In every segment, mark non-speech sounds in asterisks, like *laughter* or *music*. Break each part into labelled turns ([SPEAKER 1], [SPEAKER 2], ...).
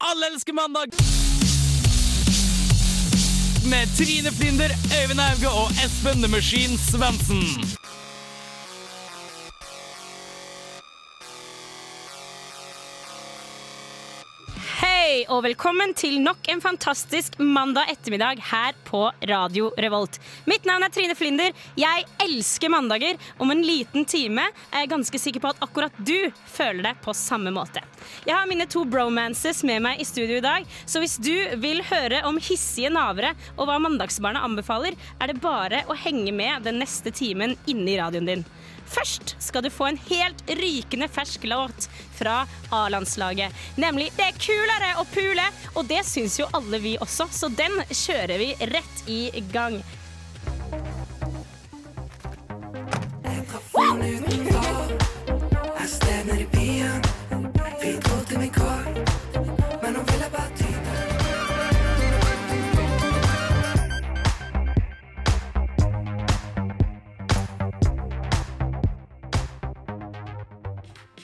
[SPEAKER 1] Alle elsker mandag! Med Trine Flinder, Øyvind Auge og Espen The Machine Svendsen.
[SPEAKER 2] Hei, og velkommen til nok en fantastisk mandag ettermiddag her på Radio Revolt. Mitt navn er Trine Flinder. Jeg elsker mandager. Om en liten time er jeg ganske sikker på at akkurat du føler det på samme måte. Jeg har mine to bromances med meg i studio i dag, så hvis du vil høre om hissige navere og hva mandagsbarna anbefaler, er det bare å henge med den neste timen inne i radioen din. Først skal du få en helt rykende fersk låt fra A-landslaget. Nemlig 'Det er kulere å pule', og det syns jo alle vi også, så den kjører vi rett i gang.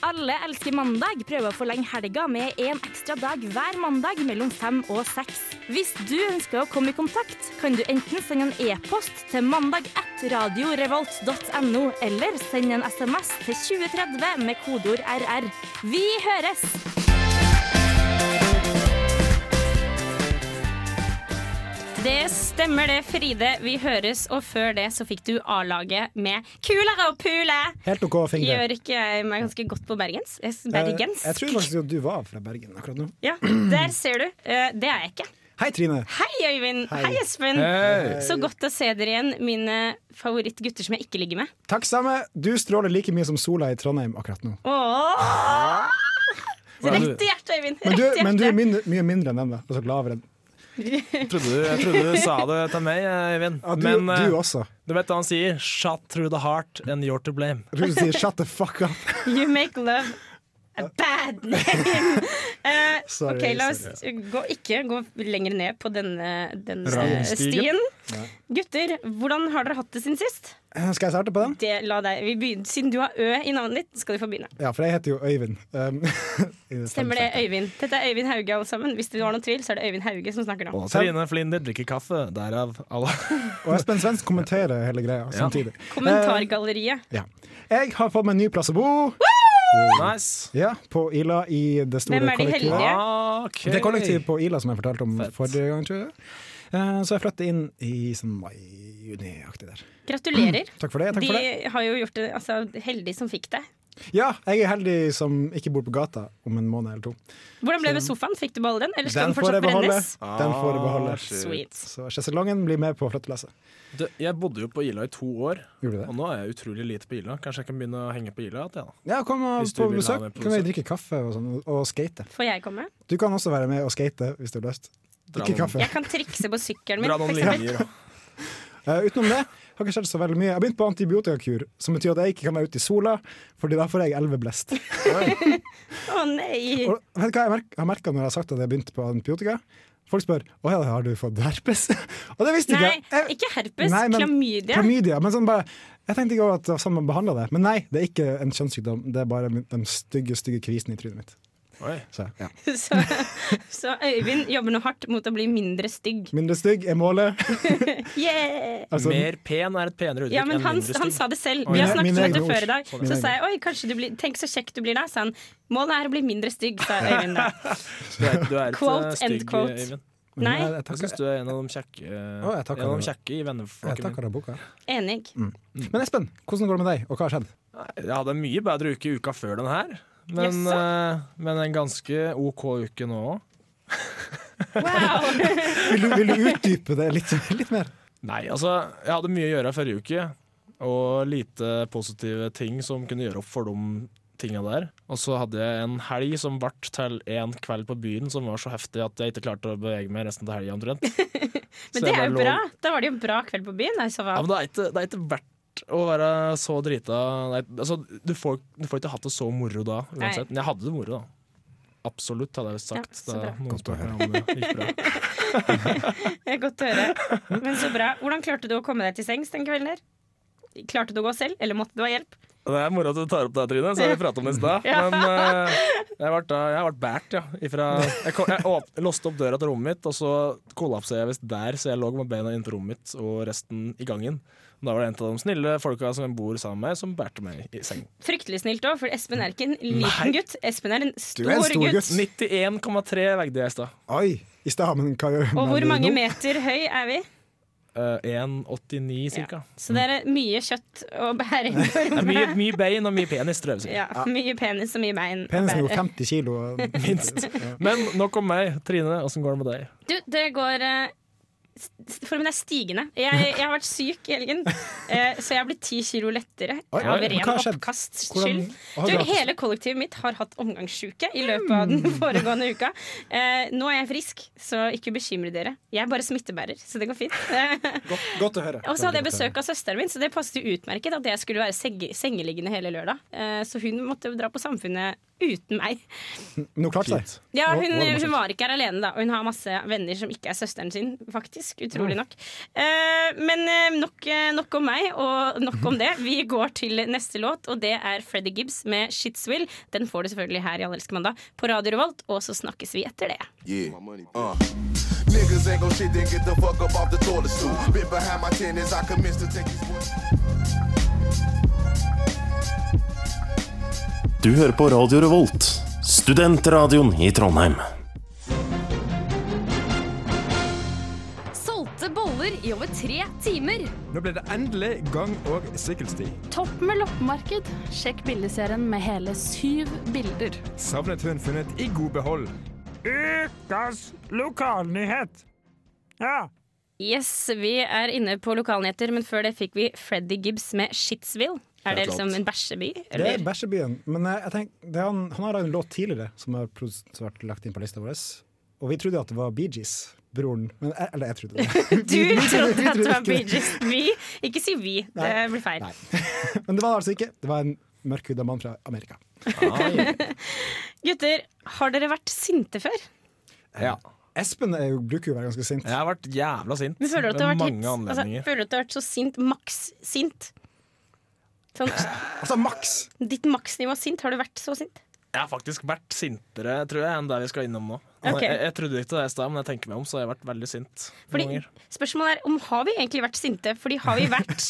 [SPEAKER 2] Alle elsker mandag prøver å forlenge helga med en ekstra dag hver mandag mellom fem og seks. Hvis du ønsker å komme i kontakt, kan du enten sende en e-post til mandag1radiorevolt.no, eller sende en SMS til 2030 med kodeord RR. Vi høres! Det stemmer det, Fride. Vi høres, og før det så fikk du A-laget med 'Kulere og pule'.
[SPEAKER 3] Helt OK, Finger.
[SPEAKER 2] Gjør ikke jeg meg ganske godt på bergens? Jeg-
[SPEAKER 3] Eh,
[SPEAKER 2] Bergens?
[SPEAKER 3] Jeg tror faktisk at du var fra Bergen akkurat nå.
[SPEAKER 2] Ja, der ser du. Eh, Det er jeg ikke.
[SPEAKER 3] Hei, Trine.
[SPEAKER 2] Hei, Øyvind. Hei,
[SPEAKER 3] Hei.
[SPEAKER 2] Espen. Så godt å se dere igjen, mine favorittgutter som jeg ikke ligger med.
[SPEAKER 3] Takk samme. Du stråler like mye som sola i Trondheim akkurat nå.
[SPEAKER 2] Åh! Rett i hjertet, Øyvind.
[SPEAKER 3] Men du,
[SPEAKER 2] Rett i
[SPEAKER 3] men du er
[SPEAKER 2] hjertet.
[SPEAKER 3] mindre, mye mindre enn dem, da. Altså lavere enn
[SPEAKER 4] Jeg trodde, du- jeg trodde du sa det til meg, Eivind.
[SPEAKER 3] ja, du,
[SPEAKER 4] Men eh,
[SPEAKER 3] du også.
[SPEAKER 4] du vet hva han sier? Shut through the heart and you're to blame.
[SPEAKER 3] Jeg tror du sier 'shut the
[SPEAKER 2] *laughs*
[SPEAKER 3] fuck up'.
[SPEAKER 2] You make love a bad name. Eh,
[SPEAKER 3] Sorry,
[SPEAKER 2] ok, la oss gå, ikke gå lenger ned på denne, denne
[SPEAKER 4] Rangstigen.
[SPEAKER 2] stien. Gutter, hvordan har dere hatt det siden sist?
[SPEAKER 3] Eh, Skal jeg starte på den?
[SPEAKER 2] Det, la deg, vi begynner, siden du har Ø i navnet ditt, skal du få begynne.
[SPEAKER 3] Ja, for jeg heter jo Øyvind. Um, *laughs* i det
[SPEAKER 2] Stemmer det, Øyvind. Dette er Øyvind Hauge, alle sammen. Hvis det var noen tvil, så er det Øyvind Hauge som snakker nå.
[SPEAKER 3] Og Espen-
[SPEAKER 4] Trine Flinder drikker kaffe, derav
[SPEAKER 3] *laughs*
[SPEAKER 4] alle.
[SPEAKER 3] og Espen Svendsen kommenterer hele greia
[SPEAKER 2] *laughs*
[SPEAKER 3] samtidig. Eh,
[SPEAKER 2] Kommentargalleriet.
[SPEAKER 3] Ja. Jeg har fått meg en ny plass å bo.
[SPEAKER 4] Nice.
[SPEAKER 3] Ja, på Ila i det store
[SPEAKER 2] Hvem er de
[SPEAKER 3] kollektivet.
[SPEAKER 2] heldige?
[SPEAKER 4] Okay.
[SPEAKER 3] Det er kollektivet på Ila som jeg fortalte om
[SPEAKER 4] Fett.
[SPEAKER 3] forrige gang, tror jeg. Eh, Så jeg flytter inn i sånn mai-juni-aktig der.
[SPEAKER 2] Gratulerer.
[SPEAKER 3] *clears throat* Takk for det. takk
[SPEAKER 2] De
[SPEAKER 3] for det.
[SPEAKER 2] har jo gjort det altså, heldig som fikk det.
[SPEAKER 3] Ja, jeg er heldig som ikke bor på gata om en måned eller to.
[SPEAKER 2] Hvordan ble det med sofaen? Fikk du beholde den, eller skal den
[SPEAKER 3] Den får
[SPEAKER 2] fortsatt
[SPEAKER 3] jeg beholde.
[SPEAKER 2] brennes?
[SPEAKER 3] Den får jeg
[SPEAKER 4] Ah,
[SPEAKER 3] beholde.
[SPEAKER 2] Sweet.
[SPEAKER 3] Så sjeselongen blir med på flyttelasset.
[SPEAKER 4] Du, jeg bodde jo på Ila i to år,
[SPEAKER 3] Gjorde du det?
[SPEAKER 4] og nå er jeg utrolig lite på Ila. Kanskje jeg kan begynne å henge på Ila igjen? da.
[SPEAKER 3] Ja, kom og
[SPEAKER 4] Hvis du
[SPEAKER 3] på
[SPEAKER 4] vil ha
[SPEAKER 3] besøk.
[SPEAKER 4] med på
[SPEAKER 3] Kan vi
[SPEAKER 4] besøk.
[SPEAKER 3] drikke kaffe og sånn, og skate.
[SPEAKER 2] Får jeg komme?
[SPEAKER 3] Du kan også være med og skate hvis du har lyst.
[SPEAKER 4] Dra
[SPEAKER 3] Ikke
[SPEAKER 4] noen-
[SPEAKER 3] kaffe.
[SPEAKER 2] Jeg kan trikse på sykkelen min.
[SPEAKER 4] Dra noen
[SPEAKER 2] for eksempel.
[SPEAKER 4] linjer. da.
[SPEAKER 3] Eh, utenom det har ikke skjedd så veldig mye. Jeg har begynt på antibiotikakur, som betyr at jeg ikke kan være ute i sola, Fordi da får jeg elveblest.
[SPEAKER 2] Å nei!
[SPEAKER 3] Og vet du hva jeg merk- har merka når jeg har sagt at jeg har begynt på antibiotika? Folk spør å ja, har du fått herpes. *laughs* og det visste
[SPEAKER 2] Nei,
[SPEAKER 3] ikke jeg.
[SPEAKER 2] ikke herpes.
[SPEAKER 3] Nei, men-
[SPEAKER 2] Klamydia.
[SPEAKER 3] Klamydia. Men sånn bare, jeg tenkte ikke over at det var sånn man behandla det. Men nei, det er ikke en kjønnssykdom. Det er bare min- den stygge, stygge kvisen i trynet mitt. *laughs*
[SPEAKER 4] Oi.
[SPEAKER 3] Så, ja.
[SPEAKER 2] *laughs* Så, så Øyvind jobber nå hardt mot å bli mindre stygg.
[SPEAKER 3] Mindre stygg er *laughs* målet.
[SPEAKER 2] Yeah!
[SPEAKER 3] Altså,
[SPEAKER 4] Mer pen er et penere uttrykk
[SPEAKER 2] Ja, men
[SPEAKER 4] enn
[SPEAKER 2] han,
[SPEAKER 4] mindre
[SPEAKER 2] han
[SPEAKER 4] stygg.
[SPEAKER 2] sa det selv.
[SPEAKER 4] Oi.
[SPEAKER 2] Vi har
[SPEAKER 3] Mine-
[SPEAKER 2] snakket om
[SPEAKER 3] mine
[SPEAKER 2] dette
[SPEAKER 3] egne
[SPEAKER 2] før i
[SPEAKER 3] ord.
[SPEAKER 2] dag.
[SPEAKER 3] Mine
[SPEAKER 2] Så sa jeg oi, kanskje du blir, tenk så kjekk du blir da. Sa han målet er å bli mindre stygg,
[SPEAKER 3] *laughs*
[SPEAKER 2] sa Øyvind da.
[SPEAKER 4] Du er, du er et
[SPEAKER 2] Quote
[SPEAKER 4] eh,
[SPEAKER 2] end
[SPEAKER 4] stygg
[SPEAKER 2] quote.
[SPEAKER 4] Eivind.
[SPEAKER 3] men
[SPEAKER 2] Nei.
[SPEAKER 3] jeg- jeg
[SPEAKER 4] Jeg
[SPEAKER 3] takker-
[SPEAKER 4] syns du er en av de kjekke,
[SPEAKER 3] Å, jeg takker
[SPEAKER 4] en av de
[SPEAKER 3] deg.
[SPEAKER 4] kjekke i
[SPEAKER 3] jeg
[SPEAKER 4] venneflokken min.
[SPEAKER 3] takker deg boka.
[SPEAKER 2] Enig.
[SPEAKER 3] Men Espen, hvordan går det med deg, og hva har skjedd?
[SPEAKER 4] Jeg hadde en mye bedre uke uka før den her. Men,
[SPEAKER 2] Jaså?
[SPEAKER 4] eh, men en ganske OK uke nå òg.
[SPEAKER 2] Wow!
[SPEAKER 3] Vil du, vil du utdype det litt, litt mer?
[SPEAKER 4] Nei, altså, jeg hadde mye å gjøre forrige uke. Og lite positive ting som kunne gjøre opp for de tinga der. Og så hadde jeg en helg som ble til en kveld på byen som var så heftig at jeg ikke klarte å bevege meg resten av
[SPEAKER 2] *laughs*
[SPEAKER 4] helga omtrent. Så
[SPEAKER 2] Men det
[SPEAKER 4] jeg
[SPEAKER 2] er
[SPEAKER 4] bare
[SPEAKER 2] jo
[SPEAKER 4] lå-
[SPEAKER 2] bra. Da var det jo en bra kveld på byen. da, i så
[SPEAKER 4] Ja,
[SPEAKER 2] fall.
[SPEAKER 4] men det er ikke, det er ikke verdt å være så drita Nei, altså, du, får, du får ikke hatt det så moro da, uansett. Men jeg hadde det moro, da. Absolutt, hadde jeg
[SPEAKER 2] Ja,
[SPEAKER 4] sagt.
[SPEAKER 2] så
[SPEAKER 4] da
[SPEAKER 2] bra.
[SPEAKER 4] noen spurte meg om det gikk bra.
[SPEAKER 2] Det er Godt å høre. Men så bra. Hvordan klarte du å komme deg til sengs den kvelden der? Klarte du å gå selv, eller måtte du ha hjelp?
[SPEAKER 4] Og *laughs* Det er moro at du tar opp det, Trine, så har vi pratet om det i stad.
[SPEAKER 2] *laughs* Ja.
[SPEAKER 4] Men eh, jeg ble, jeg ble bært, ja. Ifra, jeg, kom, jeg åp, låste opp døra til rommet mitt, og så kollapsa jeg visst der, så jeg lå med beina inntil rommet mitt og resten i gangen. Da var det en av de snille folka som bor sammen med meg, som bærte meg i seng.
[SPEAKER 2] Fryktelig snilt òg, for Espen er ikke en liten
[SPEAKER 4] Nei.
[SPEAKER 2] gutt. Espen er en
[SPEAKER 3] Du
[SPEAKER 2] stor,
[SPEAKER 3] er en stor
[SPEAKER 2] gutt.
[SPEAKER 3] gutt.
[SPEAKER 4] 91,3 veide jeg i stad.
[SPEAKER 3] Oi, i stad, men hva gjør
[SPEAKER 2] Og
[SPEAKER 3] man
[SPEAKER 2] hvor
[SPEAKER 3] nå?
[SPEAKER 2] mange meter høy er vi?
[SPEAKER 4] Eh, 1,89 cirka.
[SPEAKER 2] Så det er mye kjøtt å bære inn på
[SPEAKER 4] Det er mye,
[SPEAKER 2] rommet.
[SPEAKER 4] mye bein og mye penis, tror jeg. vi sier.
[SPEAKER 2] Ja, mye penis og mye bein. å
[SPEAKER 3] Penisen er jo
[SPEAKER 2] bære.
[SPEAKER 3] 50 kilo.
[SPEAKER 4] Minst. Men nok om meg. Trine, åssen går det med deg?
[SPEAKER 2] Du, det går eh, s- s- Formen er stigende. Jeg, jeg har vært syk i helgen, eh, så jeg har blitt ti kilo lettere
[SPEAKER 3] Oi,
[SPEAKER 2] av
[SPEAKER 4] oi,
[SPEAKER 3] men
[SPEAKER 2] ren
[SPEAKER 3] hva har skjedd?
[SPEAKER 2] oppkasts skyld.
[SPEAKER 3] Hvordan- har
[SPEAKER 2] Du,
[SPEAKER 3] du hatt- Hmm.
[SPEAKER 2] hele kollektivet mitt har hatt omgangssjuke i løpet av den *laughs* foregående uka. Eh, nå er jeg frisk, så ikke bekymre dere. Jeg er bare smittebærer, så det går fint. *laughs* Eh,
[SPEAKER 3] Godt, godt å høre.
[SPEAKER 2] Og så hadde jeg besøk av søsteren min, så det passet jo utmerket at jeg skulle være seng- sengeliggende hele lørdag. Eh, Så hun måtte jo dra på Samfunnet uten meg.
[SPEAKER 3] Nå klarte jeg.
[SPEAKER 4] Fint.
[SPEAKER 2] Ja,
[SPEAKER 3] Å,
[SPEAKER 2] hun,
[SPEAKER 3] å, det var
[SPEAKER 2] hun var ikke her alene, da, og hun har masse venner som ikke er søsteren sin, faktisk. Utrolig nok. Eh, Men eh, nok, eh, nok om meg, og nok om det. Vi går til neste låt, og det er Freddy Gibbs med 'Shitswill'. Den får du selvfølgelig her i Allelske mandag på Radio Revolt, og så snakkes vi etter det.
[SPEAKER 5] Yeah. uh. Niggas ain't gon' shit, then get the fuck up off the toilet stool. Bit behind my ten as I commence to take these boys.
[SPEAKER 6] Du hører på Radio Revolt, studentradioen i Trondheim.
[SPEAKER 7] Solgte boller i over tre timer.
[SPEAKER 8] Nå ble det endelig gang- og sykkelsti.
[SPEAKER 7] Topp med loppemarked. Sjekk bildeserien med hele syv bilder.
[SPEAKER 8] Savnet hun funnet i god behold.
[SPEAKER 2] Yes, vi er inne på lokalnyheter, men før det fikk vi Freddy Gibbs med Shitsville. Er det liksom en bæsjeby?
[SPEAKER 3] Det er
[SPEAKER 2] Eller?
[SPEAKER 3] Bæsjebyen. Men eh, jeg tenker, det er han, han har en låt tidligere som har produs- som har vært lagt inn på lista vår. Og vi trodde at det var Bee Gees, broren. Men, eh, eller jeg
[SPEAKER 2] *laughs*
[SPEAKER 3] trodde det.
[SPEAKER 2] Du trodde at det var
[SPEAKER 3] ikke
[SPEAKER 2] Bee
[SPEAKER 3] det.
[SPEAKER 2] Gees. Vi? Ikke si vi, det
[SPEAKER 3] Nei.
[SPEAKER 2] blir feil.
[SPEAKER 3] Nei. Men det var det altså ikke. Det var en mørkhuda mann fra Amerika.
[SPEAKER 2] Gutter, har dere vært sinte før?
[SPEAKER 4] Ja.
[SPEAKER 3] Espen er jo, bruker jo å være ganske sint.
[SPEAKER 4] Jeg har vært jævla sint.
[SPEAKER 2] Men føler du at du har
[SPEAKER 4] Ved
[SPEAKER 2] vært,
[SPEAKER 4] mange
[SPEAKER 2] litt, altså,
[SPEAKER 4] anledninger.
[SPEAKER 2] føler du at du har vært så sint, maks sint? Sånn,
[SPEAKER 3] Altså maks!
[SPEAKER 2] ditt maksnivå sint, har du vært så sint?
[SPEAKER 4] Jeg har faktisk vært sintere tror jeg, enn det vi skal innom nå. Altså,
[SPEAKER 2] Ok.
[SPEAKER 4] Jeg, jeg trodde ikke det i stad, men jeg tenker meg om, så har jeg vært veldig sint. noen
[SPEAKER 2] Fordi, *laughs*
[SPEAKER 4] ganger.
[SPEAKER 2] spørsmålet er om har vi egentlig vært sinte? Fordi har vi vært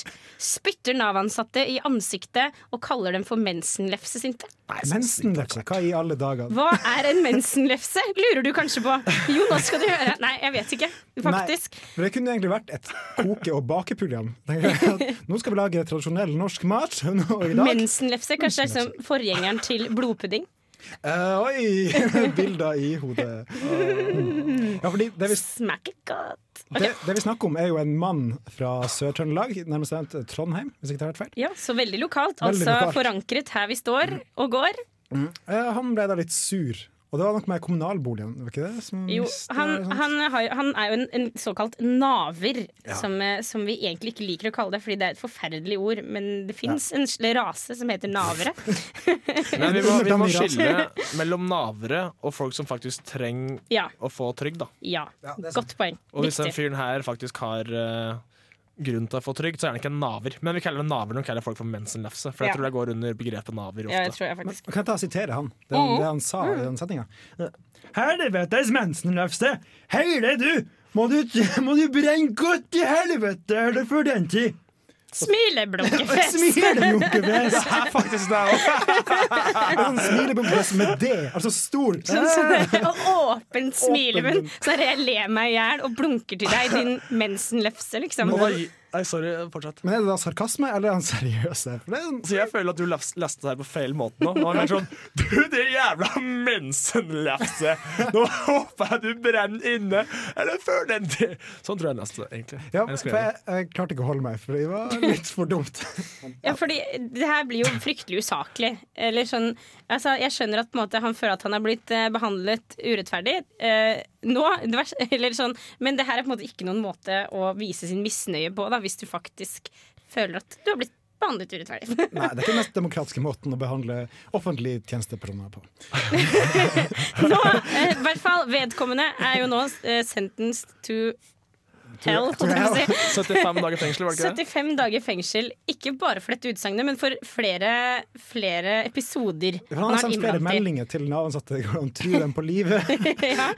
[SPEAKER 2] spytter Nav-ansatte i ansiktet og kaller dem for mensenlefsesinte?
[SPEAKER 4] Nei, så sint altså. har jeg
[SPEAKER 3] Mensenlefse,
[SPEAKER 4] ikke vært.
[SPEAKER 3] hva i alle dager?
[SPEAKER 2] Hva er en mensenlefse? Lurer du kanskje på. Jo, nå skal du høre. Nei, jeg vet ikke, faktisk.
[SPEAKER 3] Nei, men det kunne egentlig vært et koke- og bakeprogram. *laughs* Tenker jeg at Nå skal vi lage tradisjonell norsk mat. *laughs* Nå i dag.
[SPEAKER 2] Mensenlefse kanskje er liksom forgjengeren til blodpudding.
[SPEAKER 3] Eh, oi! *laughs* Bilder i
[SPEAKER 2] *laughs*
[SPEAKER 3] hodet. Ja, fordi det vi,
[SPEAKER 2] Smaker godt.
[SPEAKER 3] det, det vi snakker om, er jo en mann fra Sør-Trøndelag, nærmest bestemt Trondheim, hvis jeg ikke tar helt feil.
[SPEAKER 2] Ja, Så veldig lokalt.
[SPEAKER 3] Veldig
[SPEAKER 2] altså
[SPEAKER 3] lokalt.
[SPEAKER 2] forankret her vi står og går.
[SPEAKER 3] Eh, han ble da litt sur. Og det var nok med kommunalboligen, var ikke det? sånn- Som
[SPEAKER 2] Jo,
[SPEAKER 3] mistet-
[SPEAKER 2] han,
[SPEAKER 3] eller sånt?
[SPEAKER 2] han, har, jo- han er jo en, en såkalt naver, som, eh, som vi egentlig ikke liker å kalle det, fordi det er et forferdelig ord. Men det fins en sl- rase som heter navere.
[SPEAKER 3] *laughs*
[SPEAKER 4] Men vi må, vi må
[SPEAKER 3] Underdannig rase.
[SPEAKER 4] skille mellom navere og folk som faktisk trenger
[SPEAKER 2] Ja.
[SPEAKER 4] å få trygd. da.
[SPEAKER 2] ja.
[SPEAKER 3] det er sant.
[SPEAKER 2] Godt poeng.
[SPEAKER 4] Og hvis den
[SPEAKER 2] Viktig.
[SPEAKER 4] fyren her faktisk har eh, grunn til å få trygd, så er han ikke en naver. Men vi kaller det naver når vi kaller folk for mensenlefse, for
[SPEAKER 2] Ja.
[SPEAKER 4] jeg tror det går under begrepet naver
[SPEAKER 2] Ja, jeg
[SPEAKER 4] ofte.
[SPEAKER 2] tror jeg faktisk
[SPEAKER 3] Kan jeg ta og sitere han? Det
[SPEAKER 2] Mm.
[SPEAKER 3] han, det han sa i den setninga. Helvetes mensenløfte! Heile du! Må du, må du brenne godt i helvete, er det for den tid? *laughs*
[SPEAKER 2] Smileblunkefest!
[SPEAKER 3] Smilebunkefjes!
[SPEAKER 4] Faktisk det er også.
[SPEAKER 3] *laughs* Smilebunkefjes sånn med D, altså stor.
[SPEAKER 2] Sånn som det, *laughs* og åpen smilemunn. Så der jeg ler meg i hjel og blunker til deg, din mensenlefse, liksom.
[SPEAKER 4] Og da gi- Nei, sorry, fortsett.
[SPEAKER 3] Men er det da sarkasme, eller er han seriøs? her? For det er en-
[SPEAKER 4] Så jeg føler at du las- leste det her på feil måte nå. Nå er det mer sånn *laughs* Du, det jævla mensenlefse! Nå håper jeg du brenner inne! Eller før den tid! Sånn tror jeg jeg leste det, egentlig.
[SPEAKER 3] Ja,
[SPEAKER 4] Eller
[SPEAKER 3] for
[SPEAKER 4] skrev det.
[SPEAKER 3] jeg, jeg klarte ikke å holde meg, for det var litt for dumt.
[SPEAKER 2] *laughs* Ja, fordi det her blir jo fryktelig usaklig. Eller sånn Altså, jeg skjønner at på en måte, han føler at han er blitt eh, behandlet urettferdig eh, nå. Det vers, *laughs* eller sånn, men det her er på en måte ikke noen måte å vise sin misnøye på, da, hvis du faktisk føler at du har blitt behandlet urettferdig. *laughs*
[SPEAKER 3] Nei, det er ikke den mest demokratiske måten å behandle offentlige tjenestepersoner på.
[SPEAKER 2] Nå, eh, i hvert fall, vedkommende er jo nå eh, sentenced to hell, holdt jeg på å si.
[SPEAKER 3] *laughs*
[SPEAKER 4] *laughs* 75 dager fengsel, var det ikke det?
[SPEAKER 2] 75 dager fengsel, ikke bare for dette utsagnet, men for flere, flere episoder.
[SPEAKER 3] For Han har sendt
[SPEAKER 2] innblandet
[SPEAKER 3] flere
[SPEAKER 2] i.
[SPEAKER 3] meldinger til Nav-ansatte hvor han tror dem på
[SPEAKER 2] *laughs*
[SPEAKER 3] livet.
[SPEAKER 2] ja,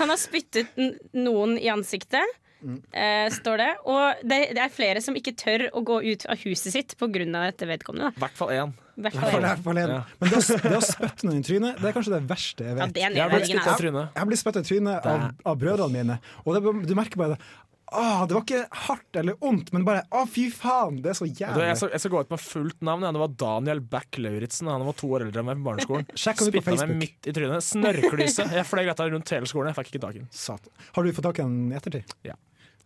[SPEAKER 2] han har spyttet n- noen i ansiktet, eh, står det. Og det, det er flere som ikke tør å gå ut av huset sitt pga. dette vedkommende.
[SPEAKER 4] I hvert fall én.
[SPEAKER 2] Da. I hvert
[SPEAKER 3] For
[SPEAKER 2] fall-
[SPEAKER 3] det er forleden.
[SPEAKER 4] Ja.
[SPEAKER 3] Men det å, det å spytte noen i trynet, det er kanskje det verste jeg
[SPEAKER 2] Ja,
[SPEAKER 3] vet.
[SPEAKER 2] det er
[SPEAKER 4] Jeg har blitt
[SPEAKER 2] nedverdigende.
[SPEAKER 4] spytta i
[SPEAKER 2] altså.
[SPEAKER 4] trynet.
[SPEAKER 3] Jeg blir spyttet i trynet av, av brødrene mine, og det, du merker bare det. Ah, det var ikke hardt eller ondt, men bare å, fy faen, det er så
[SPEAKER 4] Du, jeg,
[SPEAKER 3] jævlig.
[SPEAKER 4] skal, jeg skal gå ut med fullt navn. ja. Det var Daniel Back Lauritzen. Han var to år eldre enn meg på barneskolen.
[SPEAKER 3] Sjekk han ut på
[SPEAKER 4] Spytta meg
[SPEAKER 3] Facebook.
[SPEAKER 4] midt i trynet. Snørrklyse. Jeg fløy rett av rundt hele skolen. Jeg fikk ikke tak i den.
[SPEAKER 3] Satan. Har du fått tak i den i ettertid?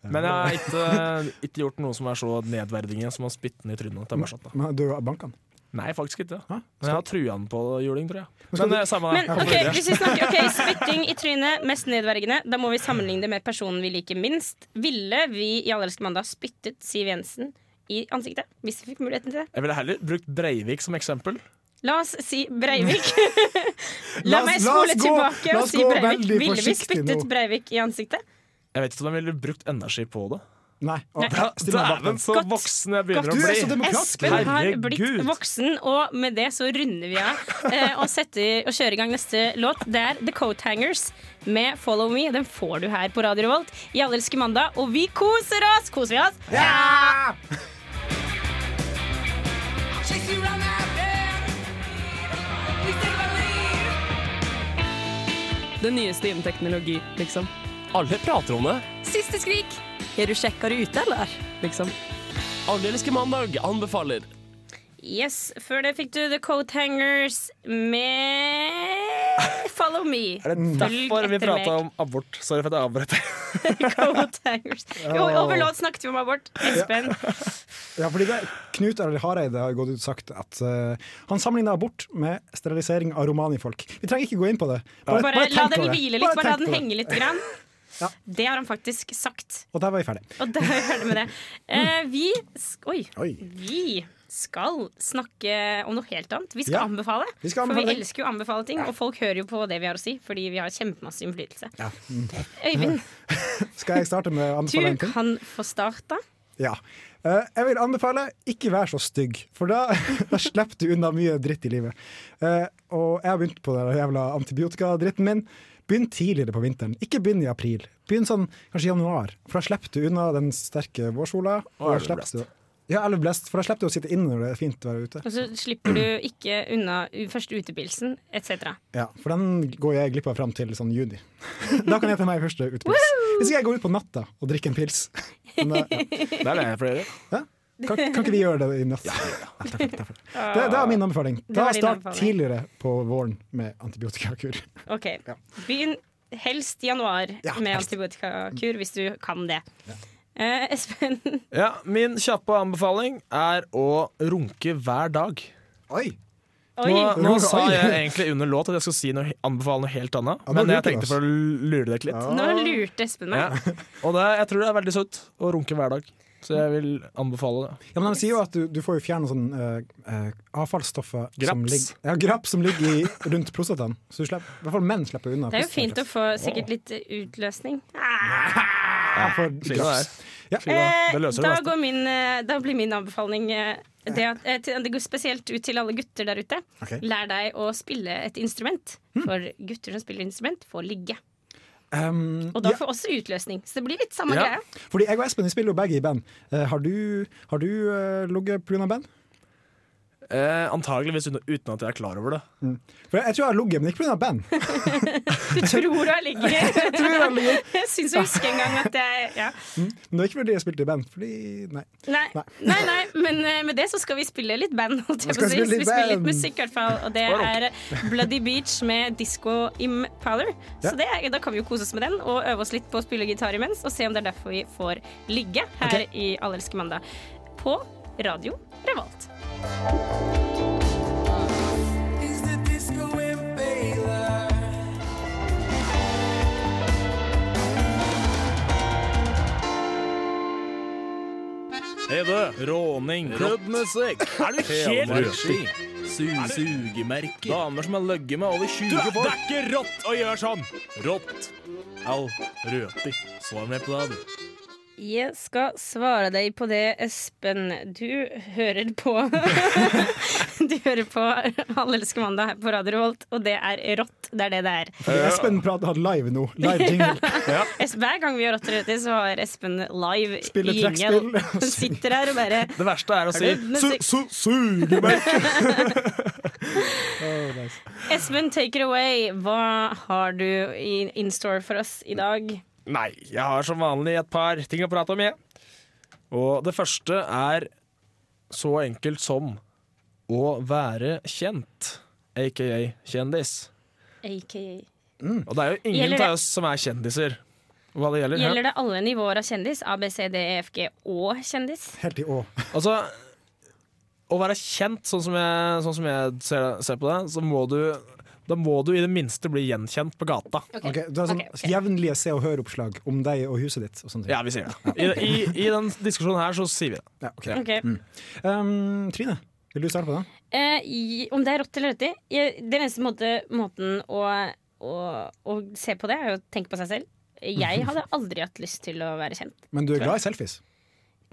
[SPEAKER 4] Men jeg har ikke, eh, ikke gjort noe som er så nedverdigende som å spytte den i trynet. til Barsat, da.
[SPEAKER 3] Men Du har banket den?
[SPEAKER 4] Nei, faktisk ikke. Men jeg har trua den på juling, tror jeg.
[SPEAKER 3] skal
[SPEAKER 4] Men eh, samme det.
[SPEAKER 2] Men ok, hvis vi snakker ok, spytting i trynet, mest nedverdigende, da må vi sammenligne det med personen vi liker minst. Ville vi i Allerske mandag spyttet Siv Jensen i ansiktet hvis vi fikk muligheten til det?
[SPEAKER 4] Jeg ville heller brukt Breivik som eksempel.
[SPEAKER 2] La oss si Breivik. La meg spole tilbake og si Breivik. Ville vi spyttet Breivik i ansiktet?
[SPEAKER 4] Jeg vet ikke om jeg ville brukt energi på det.
[SPEAKER 3] Nei. å,
[SPEAKER 2] Nei.
[SPEAKER 3] da- Still meg bak
[SPEAKER 4] Dæven,
[SPEAKER 3] den.
[SPEAKER 4] så
[SPEAKER 2] Godt.
[SPEAKER 4] voksen jeg begynner
[SPEAKER 3] Du er så
[SPEAKER 4] å bli!
[SPEAKER 3] demokratisk.
[SPEAKER 2] Espen har
[SPEAKER 4] Herregud.
[SPEAKER 2] blitt voksen, og med det så runder vi av eh, og, setter, og kjører i gang neste låt. Det er The Coat Hangers med 'Follow Me'. Den får du her på Radio Revolt i Allelske mandag, og vi koser oss! Koser vi oss?
[SPEAKER 9] Det nyeste innen teknologi, liksom.
[SPEAKER 10] Alle prater om det.
[SPEAKER 9] Siste skrik! Er du kjekkere ute, eller? Liksom.
[SPEAKER 10] Allelske mandag anbefaler.
[SPEAKER 2] Yes, Før det fikk du The Coat Hangers med 'Follow Me'.
[SPEAKER 4] Er det derfor vi prata om abort? Sorry for at jeg avbrøt.
[SPEAKER 2] *laughs* Coat Hangers? Jo, over låt snakket vi om abort. Espen.
[SPEAKER 3] Ja, fordi det, Knut Arild Hareide har gått ut og sagt at eh, han sammenligner abort med sterilisering av romanifolk. Vi trenger ikke gå inn på det.
[SPEAKER 2] Bare la
[SPEAKER 3] tenk
[SPEAKER 2] den
[SPEAKER 3] over det.
[SPEAKER 2] hvile litt, bare la
[SPEAKER 3] tenk
[SPEAKER 2] den
[SPEAKER 3] over det.
[SPEAKER 2] henge litt. Grann.
[SPEAKER 3] Ja.
[SPEAKER 2] Det har han faktisk sagt.
[SPEAKER 3] Og der var vi ferdig.
[SPEAKER 2] Og da er vi ferdig med det. Eh, vi, sk- oi,
[SPEAKER 3] Oi.
[SPEAKER 2] vi skal snakke om noe helt annet. Vi skal
[SPEAKER 3] Ja.
[SPEAKER 2] anbefale.
[SPEAKER 3] Vi skal
[SPEAKER 2] for
[SPEAKER 3] anbefale
[SPEAKER 2] vi
[SPEAKER 3] ting.
[SPEAKER 2] elsker jo å anbefale ting, og folk hører jo på det vi har å si, fordi vi har kjempemasse innflytelse.
[SPEAKER 3] Ja.
[SPEAKER 2] Øyvind,
[SPEAKER 3] Skal jeg starte med å
[SPEAKER 2] du
[SPEAKER 3] anbefale en ting?
[SPEAKER 2] kan få starta.
[SPEAKER 3] Ja. Eh, jeg vil anbefale ikke vær så stygg, for da, *laughs* da slipper du unna mye dritt i livet. Eh, og jeg har begynt på den jævla antibiotikadritten min. Begynn tidligere på vinteren, ikke begynn i april. Begynn sånn kanskje i januar, for da slipper du unna den sterke vårsola.
[SPEAKER 4] Og
[SPEAKER 3] da
[SPEAKER 4] elveblest.
[SPEAKER 3] slipper du- Ja, elveblest, for da slipper du å sitte inne når det er fint å være ute.
[SPEAKER 2] Og så slipper du ikke unna u- første utepilsen, etc.
[SPEAKER 3] Ja, For den går jeg glipp av fram til sånn juni. *laughs* Da kan jeg ta meg første utepils. Hvis ikke jeg går ut på natta og drikker en pils. *laughs* Men eh, da, ja.
[SPEAKER 4] Det er det jeg pleier å gjøre.
[SPEAKER 3] Kan, kan ikke vi gjøre det i natt? Ja, takk for det, takk for det. Det, det er min anbefaling. Da
[SPEAKER 2] var din
[SPEAKER 3] start
[SPEAKER 2] anbefaling.
[SPEAKER 3] tidligere på våren med antibiotikakur.
[SPEAKER 2] Ok, Begynn helst i januar
[SPEAKER 3] Ja,
[SPEAKER 2] med
[SPEAKER 3] helst.
[SPEAKER 2] antibiotikakur, hvis du kan det. Eh, Espen,
[SPEAKER 4] Ja, min kjappe anbefaling er å runke hver dag.
[SPEAKER 3] Oi!
[SPEAKER 2] oi.
[SPEAKER 4] Nå, nå
[SPEAKER 3] Oi.
[SPEAKER 4] sa jeg egentlig under låt at jeg skulle si noe, anbefale noe helt annet,
[SPEAKER 3] Ja, nå
[SPEAKER 4] men jeg
[SPEAKER 3] lurte du
[SPEAKER 4] tenkte
[SPEAKER 3] oss.
[SPEAKER 4] for å lure dere litt.
[SPEAKER 2] Nå lurte Espen meg.
[SPEAKER 4] Ja. Og det, jeg tror det er veldig sunt å runke hver dag, så jeg vil anbefale det.
[SPEAKER 3] Ja, men De sier jo at du, du får jo fjerna sånn eh, eh, avfallsstoffer som
[SPEAKER 4] Graps.
[SPEAKER 3] ligger, ja, graps som ligger i, rundt prostataen. Så du slipper, i hvert fall menn slipper unna.
[SPEAKER 2] Det er jo fint å få sikkert litt eh, utløsning.
[SPEAKER 3] ja, for
[SPEAKER 4] Slik det
[SPEAKER 3] graps.
[SPEAKER 4] er.
[SPEAKER 3] Ja.
[SPEAKER 4] Slik det er. Det løser
[SPEAKER 2] Eh,
[SPEAKER 4] det
[SPEAKER 2] da,
[SPEAKER 4] meste.
[SPEAKER 2] går min, eh, da blir min anbefaling eh, det, at, eh, til, det går spesielt ut til alle gutter der ute.
[SPEAKER 3] Ok.
[SPEAKER 2] Lær deg å spille et instrument.
[SPEAKER 4] Hmm.
[SPEAKER 2] For gutter som spiller instrument, får ligge.
[SPEAKER 3] Um,
[SPEAKER 2] Og da får også utløsning. Så det blir litt samme
[SPEAKER 4] Ja.
[SPEAKER 2] greia.
[SPEAKER 3] Fordi jeg og Espen vi spiller jo begge i band. Eh, har du, har du eh, ligget pga. band?
[SPEAKER 4] Eh, antageligvis uten, uten at jeg er klar over det.
[SPEAKER 3] For jeg, jeg tror jeg har ligget, men ikke pga. band. *laughs*
[SPEAKER 2] Du tror du har
[SPEAKER 4] *laughs*
[SPEAKER 2] ligget.
[SPEAKER 3] Jeg tror jeg har ligget.
[SPEAKER 2] *laughs* Jeg syns jeg husker en gang at jeg ja.
[SPEAKER 3] Men det er ikke fordi jeg spilte i band. Fordi, nei.
[SPEAKER 2] nei,
[SPEAKER 3] Nei.
[SPEAKER 2] nei, nei, men eh, med det så skal vi spille litt band, holdt jeg
[SPEAKER 3] Skal
[SPEAKER 2] på å si.
[SPEAKER 3] spille
[SPEAKER 2] Så
[SPEAKER 3] litt
[SPEAKER 2] Vi spiller litt
[SPEAKER 3] band.
[SPEAKER 2] musikk, i hvert fall. Og det er eh, Bloody Beach med Disco Impower. Så det, er- da kan vi jo kose oss med den, og øve oss litt på å spille gitar imens, og se om det er derfor vi får ligge her
[SPEAKER 3] Ok.
[SPEAKER 2] i Allelske mandag på Radio Revolt.
[SPEAKER 4] Hei du, råning, rockmusikk, er du helt rødski, sugemerker, damer som har løgget med over 20 folk. Det er ikke rått å gjøre sånn! Rått. Au, røti. Svar meg på det, du.
[SPEAKER 2] Jeg skal svare deg på det, Espen. Du hører på *laughs* Du hører på Allelske mandag her på Radio Revolt, og det er rått. Det er det det er.
[SPEAKER 3] Fordi Espen prater han live nå.
[SPEAKER 2] *laughs*
[SPEAKER 3] Live jingle.
[SPEAKER 2] Es- Hver gang vi har Rotter ute, så har Espen live
[SPEAKER 3] Spiller
[SPEAKER 2] i
[SPEAKER 3] trekkspill.
[SPEAKER 2] jingle. *laughs* Han sitter her og bare
[SPEAKER 4] Det verste er å si
[SPEAKER 2] Er det musikk? *laughs* Espen, take it away. Hva har du i- in store for oss i dag?
[SPEAKER 4] Nei, jeg har som vanlig et par ting å prate om, jeg. Og det første er så enkelt som å være kjent, aka kjendis.
[SPEAKER 2] AKA.
[SPEAKER 4] Og det er jo
[SPEAKER 2] Gjelder
[SPEAKER 4] ingen
[SPEAKER 2] det-
[SPEAKER 4] av oss som er kjendiser. Hva det gjelder.
[SPEAKER 2] Gjelder det alle nivåer av kjendis? A, B, C, D, E, F, G og kjendis?
[SPEAKER 3] Helt i å.
[SPEAKER 4] Altså, å være kjent, sånn som jeg, sånn som jeg ser, ser på det, så må du da må du i det minste bli gjenkjent på gata.
[SPEAKER 3] Ok, du har sånn
[SPEAKER 2] ok, ok.
[SPEAKER 3] jevnlige se og hør-oppslag om deg og huset ditt. Og sånne ting.
[SPEAKER 4] Ja, vi sier det. I, i, I den diskusjonen her så sier vi det.
[SPEAKER 3] Ja, ok.
[SPEAKER 2] Ok.
[SPEAKER 3] Um, Trine, vil du starte på det?
[SPEAKER 2] Eh, i- om det er rått eller rødt i? jeg- Den eneste måte, måten å, å, å se på det, er jo å tenke på seg selv.
[SPEAKER 3] *laughs*
[SPEAKER 2] Jeg hadde aldri hatt lyst til å være kjent.
[SPEAKER 3] Men du er glad i selfies.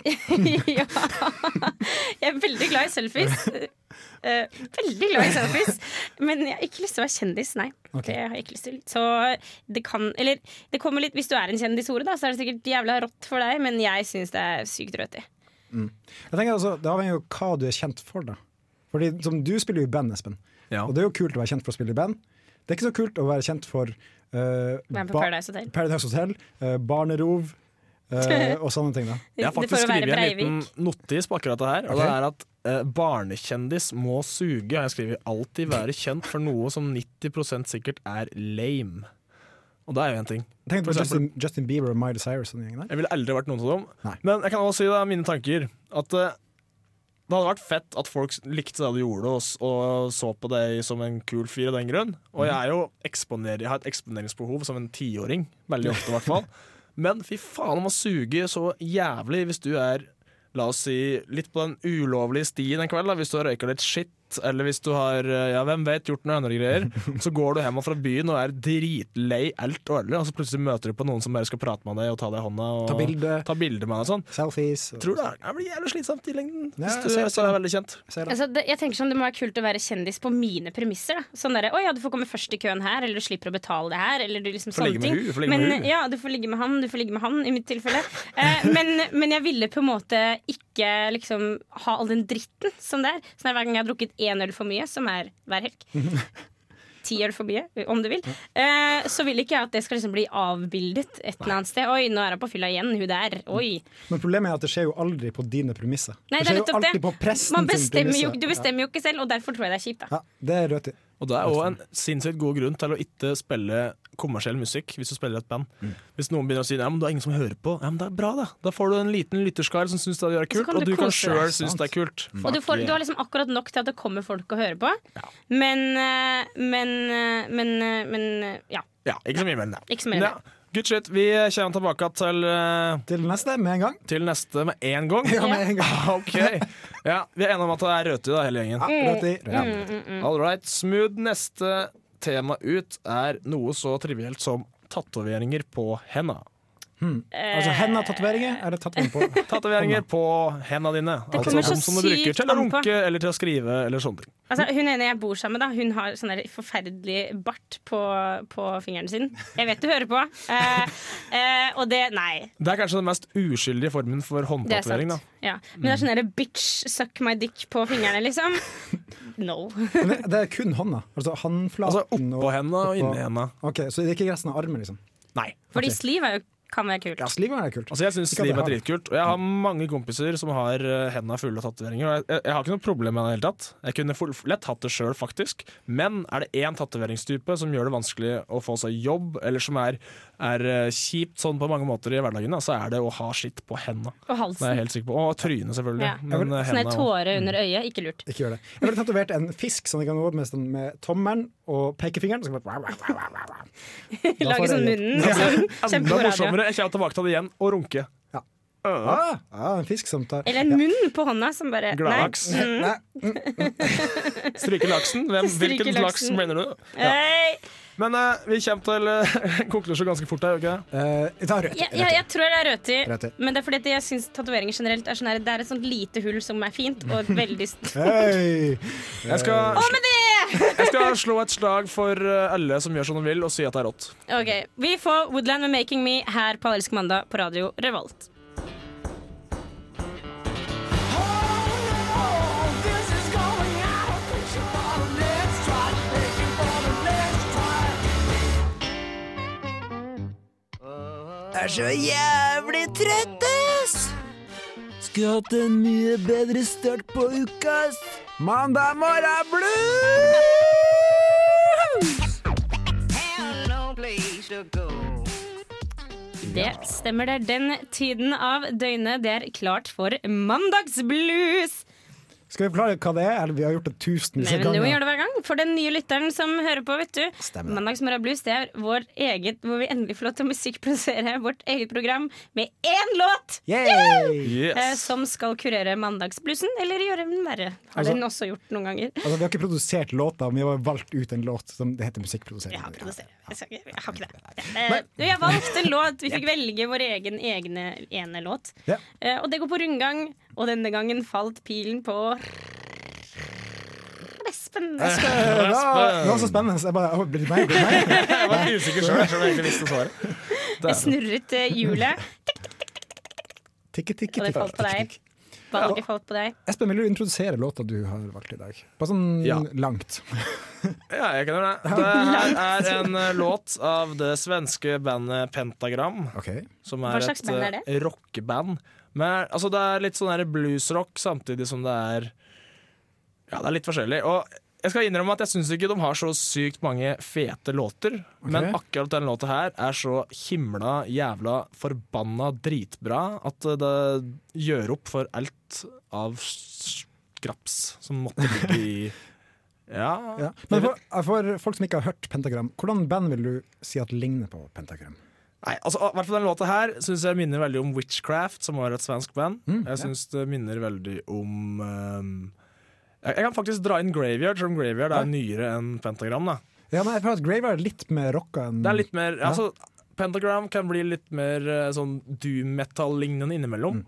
[SPEAKER 2] ja. Jeg er veldig glad i
[SPEAKER 4] *laughs*
[SPEAKER 2] selfies. Eh, veldig glad i selfies. Men jeg har ikke lyst til å være kjendis, nei.
[SPEAKER 3] Ok.
[SPEAKER 2] Det har jeg ikke lyst til. Så det kan Eller det kommer litt Hvis du er en kjendishore, da, så er det sikkert jævla rått for deg, men jeg syns det er sykt rødt i.
[SPEAKER 3] Jeg tenker altså, Det avhenger jo av hva du er kjent for. da Fordi som Du spiller jo i band, Espen.
[SPEAKER 4] Ja.
[SPEAKER 3] Og det er jo kult å være kjent for å spille i band. Det er ikke så kult å være kjent for eh,
[SPEAKER 2] Være med på
[SPEAKER 3] ba-
[SPEAKER 2] Paradise Hotel.
[SPEAKER 3] Paradise Hotel, eh, Barnerov eh, og sånne ting. da
[SPEAKER 4] Jeg har
[SPEAKER 2] Det får
[SPEAKER 4] faktisk
[SPEAKER 2] å være
[SPEAKER 4] skrevet en
[SPEAKER 2] Breivik.
[SPEAKER 4] liten notis på akkurat det her. Og det
[SPEAKER 3] Ok.
[SPEAKER 4] er at eh, barnekjendis må suge. Har jeg skrevet alltid være kjent for noe som 90 sikkert er lame. Og det er jo en ting.
[SPEAKER 3] Tenk
[SPEAKER 4] For
[SPEAKER 3] på
[SPEAKER 4] eksempel-
[SPEAKER 3] Justin, Justin Bieber og Miley Cyrus. og den gjengen der
[SPEAKER 4] Jeg ville aldri vært noen av dem.
[SPEAKER 3] Nei.
[SPEAKER 4] Men jeg kan også si da, mine tanker at eh, det hadde vært fett at folk likte det du gjorde og, s- og så på deg som en kul fyr av den grunn. Og jeg, er jo eksponer, jeg har et eksponeringsbehov som en tiåring, veldig ofte i
[SPEAKER 3] *laughs*
[SPEAKER 4] hvert fall. Men fy faen om å suge så jævlig hvis du er La oss si litt på den ulovlige stien en kveld, da, hvis du har røyka litt shit, eller hvis du har eh, ja, hvem vet, gjort noen andre greier.
[SPEAKER 3] *laughs*
[SPEAKER 4] Så går du hjem fra byen og er dritlei alt og alle, og så plutselig møter du på noen som bare skal prate med deg og ta deg i hånda. Og
[SPEAKER 3] Ta bilde.
[SPEAKER 4] ta bilde med deg og sånn.
[SPEAKER 3] Selfies. og-
[SPEAKER 4] Tror du det er- det blir jævlig slitsomt i lengden
[SPEAKER 3] Ja,
[SPEAKER 4] hvis
[SPEAKER 3] jeg
[SPEAKER 4] du
[SPEAKER 3] ser
[SPEAKER 4] er
[SPEAKER 3] det.
[SPEAKER 4] så veldig kjent.
[SPEAKER 3] Ser det.
[SPEAKER 2] Altså, det, jeg tenker sånn, Det må være kult å være kjendis på mine premisser. Da. Sånn derre 'Å ja, du får komme først i køen her', eller 'du slipper å betale det her', eller du liksom
[SPEAKER 4] Får ligge
[SPEAKER 2] sånne
[SPEAKER 4] med
[SPEAKER 2] ting.
[SPEAKER 4] hun, du får ligge
[SPEAKER 2] men,
[SPEAKER 4] med hun.
[SPEAKER 2] ja, du får ligge med han, du får ligge med han, i mitt tilfelle. Eh, men, men jeg ville på en måte ikke liksom ha all den dritten som det er. Sånn er hver gang jeg har drukket én øl for mye, som er hver helg.
[SPEAKER 4] *laughs*
[SPEAKER 2] Ti øl for mye, om du vil. Eh, så vil ikke jeg at det skal liksom bli avbildet et eller annet sted. Oi, nå er hun på fylla igjen, hun der. Oi.
[SPEAKER 4] Mm.
[SPEAKER 3] Men problemet er at det skjer jo aldri på dine premisser.
[SPEAKER 2] Nei, det
[SPEAKER 3] skjer
[SPEAKER 2] er
[SPEAKER 3] jo
[SPEAKER 2] nettopp
[SPEAKER 3] alltid
[SPEAKER 2] det.
[SPEAKER 3] på presten
[SPEAKER 2] Man
[SPEAKER 3] sin
[SPEAKER 2] bestemmer jo,
[SPEAKER 3] premisser.
[SPEAKER 2] du bestemmer jo ikke selv, og derfor tror jeg det er kjipt. da
[SPEAKER 3] Ja, det er rødt i.
[SPEAKER 4] Og det er òg en sinnssykt god grunn til å ikke spille kommersiell musikk hvis du spiller et band.
[SPEAKER 3] Mm.
[SPEAKER 4] Hvis noen begynner å si ja, men det er ingen som hører på, ja, men det er bra, da. Da får du en liten lytterskare som syns det
[SPEAKER 2] Så
[SPEAKER 4] er kult,
[SPEAKER 2] kan
[SPEAKER 4] og
[SPEAKER 2] du
[SPEAKER 4] du kan
[SPEAKER 2] kose deg.
[SPEAKER 4] sjøl synes det er kult.
[SPEAKER 3] Mm.
[SPEAKER 2] Og du,
[SPEAKER 4] Fuck
[SPEAKER 2] får,
[SPEAKER 4] yeah.
[SPEAKER 2] du har liksom akkurat nok til at det kommer folk og hører på. Men, eh, men, eh, men, eh, men eh, ja.
[SPEAKER 4] Ja, ikke så mye mer enn det.
[SPEAKER 2] Ikke så mye mer.
[SPEAKER 4] Ja. Good shit. Vi kommer tilbake til, eh,
[SPEAKER 3] Til neste med en gang.
[SPEAKER 4] til neste med en gang.
[SPEAKER 3] Ja, med en gang.
[SPEAKER 4] *laughs* OK. Ja, vi er enige om at det er rødtid, da, hele gjengen.
[SPEAKER 3] Ja,
[SPEAKER 2] Mm.
[SPEAKER 3] rødt i. Rødt.
[SPEAKER 4] Mm, All right, smooth. Neste tema ut er noe så trivielt som tatoveringer på henda.
[SPEAKER 3] Altså henda-tatoveringer er det
[SPEAKER 2] *laughs*
[SPEAKER 3] tatovering på.
[SPEAKER 4] Tatoveringer på henda dine.
[SPEAKER 2] Det
[SPEAKER 4] Altså
[SPEAKER 2] kommer så
[SPEAKER 4] dem som du bruker
[SPEAKER 2] sykt
[SPEAKER 4] til å
[SPEAKER 2] an på.
[SPEAKER 4] runke eller til å skrive eller sånne ting.
[SPEAKER 2] Altså, hun ene jeg bor sammen med, da, hun har sånn der forferdelig bart på, på fingeren sin. Jeg vet du hører på. Eh, eh, og det Nei.
[SPEAKER 4] Det er kanskje den mest uskyldige formen for
[SPEAKER 2] Det er
[SPEAKER 4] håndtatovering. da.
[SPEAKER 2] sant. Ja. Men det er sånn derre bitch, suck my dick på fingrene,
[SPEAKER 4] *laughs*
[SPEAKER 2] liksom. No.
[SPEAKER 3] Men det- det er kun hånda. Altså håndflaten
[SPEAKER 4] Altså oppå henda og inni henda.
[SPEAKER 3] Ok, Så det er ikke resten av armen, liksom.
[SPEAKER 4] Nei.
[SPEAKER 2] Fordi
[SPEAKER 3] Ok.
[SPEAKER 2] sleeve er jo, kan være kult.
[SPEAKER 3] Ja, Slivet er kult.
[SPEAKER 4] Altså Jeg syns
[SPEAKER 3] Ikke at jeg
[SPEAKER 4] sliv er
[SPEAKER 3] har det.
[SPEAKER 4] dritkult, og jeg har mange kompiser som har eh, henda fulle av tatoveringer. og Jeg, jeg, jeg har ikke noe problem med det i det hele tatt. Jeg kunne full- lett hatt det sjøl, faktisk. Men er det én tatoveringstype som gjør det vanskelig å få seg jobb, eller som er, er eh, kjipt sånn på mange måter i hverdagen, da, så er det å ha skitt på henda.
[SPEAKER 2] Og
[SPEAKER 4] Det er jeg
[SPEAKER 2] halsen.
[SPEAKER 4] helt sikker på. Og trynet, selvfølgelig.
[SPEAKER 2] Ja.
[SPEAKER 4] Men
[SPEAKER 2] Sånn
[SPEAKER 4] eh,
[SPEAKER 2] der
[SPEAKER 4] henda også.
[SPEAKER 2] tåre under øyet. Ikke lurt.
[SPEAKER 3] Ikke gjør det. Jeg ville tatovert en fisk som jeg kan gå opp med, sånn med tommelen og pekefingeren. Så
[SPEAKER 2] *laughs*
[SPEAKER 3] kan jeg bare-
[SPEAKER 2] Lage sånn munnen.
[SPEAKER 4] Altså, *laughs*
[SPEAKER 2] Sånn,
[SPEAKER 4] Enda
[SPEAKER 2] Kjempegod radio.
[SPEAKER 4] morsommere. Jeg kommer tilbake til det igjen, og runke.
[SPEAKER 3] ah, ah, en fisk som tar
[SPEAKER 2] Eller en munn på hånda som bare
[SPEAKER 4] Gladlaks.
[SPEAKER 2] Nei. Mm.
[SPEAKER 3] *laughs* Nei,
[SPEAKER 4] Stryke laksen. Hvem,
[SPEAKER 2] *laughs* Stryke
[SPEAKER 4] hvilken laks
[SPEAKER 2] laksen.
[SPEAKER 4] mener du?
[SPEAKER 2] Hei.
[SPEAKER 4] Men eh, vi kommer til eh, *laughs* konklusjon ganske fort her, gjør vi ikke det?
[SPEAKER 3] Eh, jeg tar rødt.
[SPEAKER 2] Ja, ja, jeg tror det er rødti,
[SPEAKER 3] Rødti.
[SPEAKER 2] men det er fordi at jeg syns tatoveringer generelt er sånn her Det er et sånt lite hull som er fint, og et veldig st-
[SPEAKER 3] Hei!
[SPEAKER 4] Jeg skal,
[SPEAKER 2] Og med det!
[SPEAKER 4] jeg skal slå et slag for eh, alle som gjør som de vil, og si at det er rått.
[SPEAKER 2] OK. Vi får Woodland med 'Making Me' her på Allelsk mandag på radio Revolt.
[SPEAKER 3] Mandag morgen blues!
[SPEAKER 2] Det stemmer, det er den tiden av døgnet det er klart for mandagsblues.
[SPEAKER 3] Skal vi forklare hva det er? Eller vi har gjort det tusen
[SPEAKER 2] Nei, men du må
[SPEAKER 3] ganger.
[SPEAKER 2] gjøre det hver gang. For den nye lytteren som hører på, vet du. Mandagsmorgen Blues det er vår eget, hvor vi endelig får lov til å musikkprodusere vårt eget program med én låt
[SPEAKER 3] Yay!
[SPEAKER 2] eh,
[SPEAKER 4] Yes.
[SPEAKER 2] som skal kurere mandagsbluesen, eller gjøre den verre. Har
[SPEAKER 3] Altså-
[SPEAKER 2] den også gjort noen ganger.
[SPEAKER 3] Altså, vi har ikke produsert låta, men vi har valgt ut en låt som det heter musikkprodusering.
[SPEAKER 2] Jeg har produsert. Jeg, skal, ikke- jeg har ikke det. Eh, du, jeg valgte en låt. Vi fikk velge vår egen egne ene låt.
[SPEAKER 3] Ja.
[SPEAKER 2] Eh, og det går på rundgang, og denne gangen falt pilen på Espen.
[SPEAKER 3] Det var, det var så spennende. så Jeg bare, «Å, blir det meg? Blir
[SPEAKER 4] *laughs*
[SPEAKER 3] det meg?
[SPEAKER 4] Jeg var litt usikker sjøl, jeg egentlig visste svaret.
[SPEAKER 2] Jeg snurret eh, hjulet, og
[SPEAKER 3] Tikke, tikke,
[SPEAKER 2] det
[SPEAKER 3] tikke,
[SPEAKER 2] falt på
[SPEAKER 3] tikke,
[SPEAKER 2] deg.
[SPEAKER 3] tikke.
[SPEAKER 2] Valget falt på deg.
[SPEAKER 3] Espen, vil du introdusere låta du har valgt i dag? Bare sånn
[SPEAKER 4] Ja.
[SPEAKER 3] langt.
[SPEAKER 4] Ja, jeg kan gjøre det. Det her er en eh, låt av det svenske bandet Pentagram.
[SPEAKER 3] Ok.
[SPEAKER 4] Som
[SPEAKER 2] Hva
[SPEAKER 4] er
[SPEAKER 2] slags
[SPEAKER 4] et
[SPEAKER 2] band er
[SPEAKER 4] eh, rockeband. Men, altså, det er litt sånn her bluesrock samtidig som det er Ja, det er litt forskjellig. Og jeg skal innrømme at jeg syns ikke de har så sykt mange fete låter. Men akkurat den låta her er så himla jævla forbanna dritbra at eh, det gjør opp for alt av skraps som måtte ligge i Ja.
[SPEAKER 3] Ja. Men for, for folk som ikke har hørt Pentagram, hvordan band vil du si at ligner på Pentagram?
[SPEAKER 4] Nei, altså, i hvert fall Den låta her syns jeg minner veldig om Witchcraft, som var et svensk band.
[SPEAKER 3] Mm,
[SPEAKER 4] jeg syns det minner veldig om ehm, jeg, jeg kan faktisk dra inn Graveyard, selv om Graveyard er nyere enn Pentagram. da
[SPEAKER 3] Ja, men jeg føler at Graveyard er litt mer rocka enn
[SPEAKER 4] Det er litt mer, altså Pentagram kan bli litt mer eh, sånn doom metal-lignende innimellom.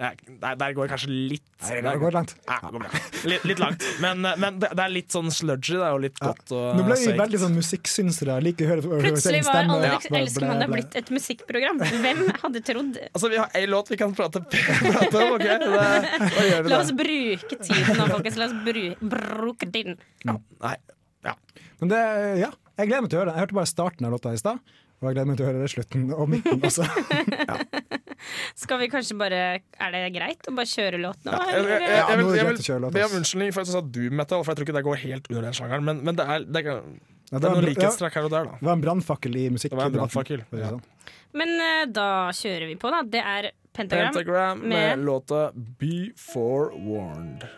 [SPEAKER 4] Jeg- der, der går jeg kanskje litt
[SPEAKER 3] Mm, Nei, det går langt.
[SPEAKER 4] Ja, det går bra. Litt, litt langt. Men, eh, men det, det er litt sånn sludgy. Det er jo litt godt og
[SPEAKER 3] Nå ble vi
[SPEAKER 4] seigt.
[SPEAKER 3] veldig sånn musikksynsere. jeg Liker å høre, høre
[SPEAKER 2] Plutselig
[SPEAKER 3] sin
[SPEAKER 2] var
[SPEAKER 3] stemme.
[SPEAKER 2] Alex
[SPEAKER 3] Bla, bla,
[SPEAKER 2] Elsker Mandag
[SPEAKER 3] bla.
[SPEAKER 2] blitt et musikkprogram. Hvem hadde trodd?
[SPEAKER 4] Altså, Vi har ei låt vi kan prate, *laughs* prate om, OK? Det, da gjør
[SPEAKER 2] La
[SPEAKER 4] vi det.
[SPEAKER 2] oss bruke tiden nå, folkens. La oss bru- bruke den.
[SPEAKER 4] Nei, ja.
[SPEAKER 3] Men det, ja, jeg gleder meg til å høre det. Jeg hørte bare starten av låta i stad, og jeg gleder meg til å høre det i slutten altså. og
[SPEAKER 4] *laughs*
[SPEAKER 3] midten også.
[SPEAKER 2] Skal vi kanskje bare Er det greit å bare kjøre låt nå?
[SPEAKER 4] jeg, jeg,
[SPEAKER 2] eller?
[SPEAKER 4] jeg, jeg,
[SPEAKER 3] nå er
[SPEAKER 4] vil-
[SPEAKER 3] det
[SPEAKER 4] jeg
[SPEAKER 3] greit å kjøre
[SPEAKER 4] vil
[SPEAKER 3] låt,
[SPEAKER 4] be
[SPEAKER 3] ass.
[SPEAKER 4] om unnskyldning for at jeg sa doom metal, for jeg tror ikke det går helt under den sjangeren. Men, men det, er, det, er,
[SPEAKER 3] Ja,
[SPEAKER 4] det er noen
[SPEAKER 3] bra- ja,
[SPEAKER 4] likhetstrekk her og der,
[SPEAKER 3] det
[SPEAKER 4] da.
[SPEAKER 3] var en brannfakkel i musikk.
[SPEAKER 4] Det var en brannfakkel, ja.
[SPEAKER 3] sånn.
[SPEAKER 2] Men eh, da kjører vi på, da. Det er Pentagram.
[SPEAKER 4] Pentagram
[SPEAKER 2] med-
[SPEAKER 4] med låta Be Forewarned.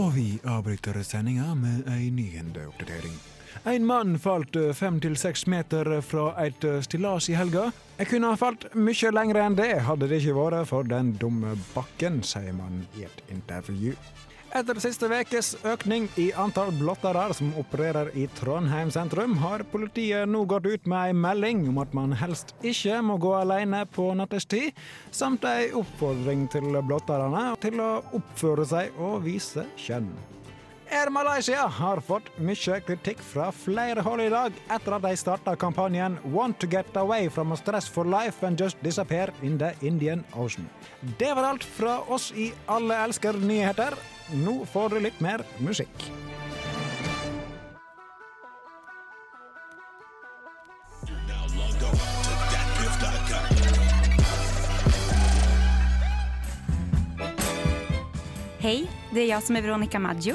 [SPEAKER 8] Og vi avbryter sendinga med ei nyhende oppdatering. En mann falt eh, fem til seks meter fra et eh, stillas i helga.
[SPEAKER 3] Jeg kunne ha falt mye lenger enn det hadde det ikke vært for den dumme bakken, sier man i et intervju. Etter siste ukes økning i antall blottere som opererer i Trondheim sentrum, har politiet nå gått ut med en melding om at man helst ikke må gå alene på nattestid, samt en oppfordring til blotterne til å oppføre seg og vise kjønn. Air Malaysia har fått mye kritikk fra flere hold i dag etter at de starta kampanjen Want to get away from a stress for life and just disappear in the Indian Ocean. Det var alt fra oss i Alle elsker nyheter. Nå får du litt mer musikk.
[SPEAKER 9] Hej, det är jag som är Veronica Maggio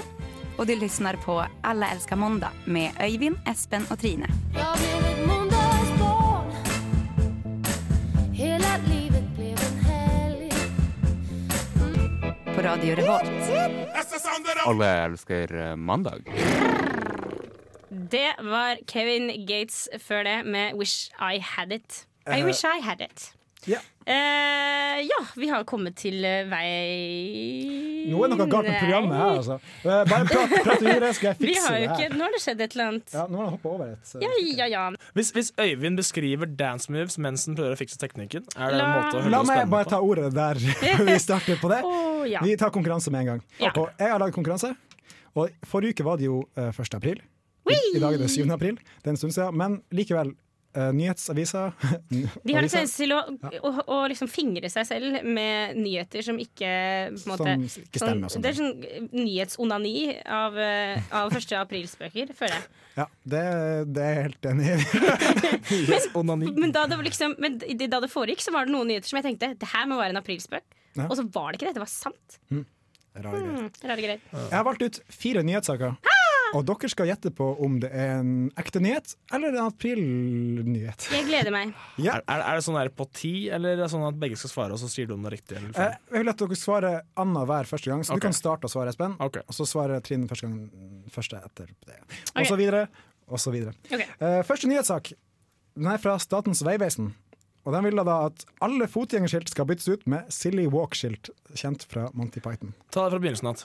[SPEAKER 9] och du lyssnar på Alla älskar måndag med Öyvind, Espen och Trine.
[SPEAKER 7] Jag blev ett måndagsbarn Hela livet blev en helg
[SPEAKER 9] På Radio Revolt.
[SPEAKER 5] Alle elsker mandag.
[SPEAKER 2] Det var Kevin Gates før det med 'Wish I Had It'. I
[SPEAKER 3] Eh.
[SPEAKER 2] wish I had it.
[SPEAKER 3] Ja.
[SPEAKER 2] Eh, ja, vi har kommet til eh, vei
[SPEAKER 3] Nå er noe galt med programmet her, altså. Eh, Bare prat, prat videre, skal jeg
[SPEAKER 2] Vi
[SPEAKER 3] fikse
[SPEAKER 2] har jo
[SPEAKER 3] det her.
[SPEAKER 2] ikke Nå har det skjedd et eller annet.
[SPEAKER 3] Ja, nå har han hoppa over et. eh, så-
[SPEAKER 2] Ja, ja, ja.
[SPEAKER 4] Hvis, hvis Øyvind beskriver dance moves mens han prøver å fikse teknikken, er det en
[SPEAKER 2] La-
[SPEAKER 4] måte å holde
[SPEAKER 3] La
[SPEAKER 4] det
[SPEAKER 3] meg
[SPEAKER 4] spennende
[SPEAKER 3] bare ta ordet der *laughs* vi starter
[SPEAKER 2] *laughs*
[SPEAKER 3] på det.
[SPEAKER 2] Å, Oh, ja.
[SPEAKER 3] Vi tar konkurranse med en gang.
[SPEAKER 2] Ja.
[SPEAKER 3] Og jeg har lagd konkurranse. Og Forrige uke var det jo eh, 1. april. I,
[SPEAKER 2] Whee!
[SPEAKER 3] I dag er det 7. april. Det er en stund siden. Men likevel, eh, *laughs* nyhetsaviser
[SPEAKER 2] De har en
[SPEAKER 3] aviser
[SPEAKER 2] tendens til å, å, å liksom fingre seg selv med nyheter som ikke på en måte,
[SPEAKER 3] Som ikke stemmer og sånn.
[SPEAKER 2] Det er sånn nyhetsonani av, eh, av 1. aprilspøker, føler jeg.
[SPEAKER 3] Ja, det, det er jeg helt enig i. yes, onani.
[SPEAKER 2] Men, da det, var liksom, men d- da det foregikk, så var det noen nyheter som jeg tenkte det her må være en aprilspøk.
[SPEAKER 3] Ja. Hm.
[SPEAKER 2] Og så var det ikke det. Det var sant.
[SPEAKER 3] Rare greier.
[SPEAKER 2] Mm, rare greier.
[SPEAKER 3] Jeg har valgt ut fire nyhetssaker. Og dere skal gjette på om det er en ekte nyhet eller en aprilnyhet.
[SPEAKER 2] Jeg gleder meg.
[SPEAKER 3] Ja.
[SPEAKER 4] Er, er, er det sånn her på ti, eller er det sånn at begge skal svare, og så sier du om det er riktig eller
[SPEAKER 3] Eh,
[SPEAKER 4] feil?
[SPEAKER 3] Jeg vil at dere svarer annenhver første gang, så
[SPEAKER 4] Ok.
[SPEAKER 3] du kan starte å svare, Espen.
[SPEAKER 4] Ok. altså,
[SPEAKER 3] Og så svarer Trine første gang første etter det. Og
[SPEAKER 2] Ok.
[SPEAKER 3] så videre, og så videre.
[SPEAKER 2] Ok.
[SPEAKER 3] Eh, første nyhetssak Den er fra Statens vegvesen. Og den vil da at alle fotgjengerskilt skal byttes ut med Silly Walk-skilt, kjent fra Monty Python.
[SPEAKER 4] Ta det fra begynnelsen av.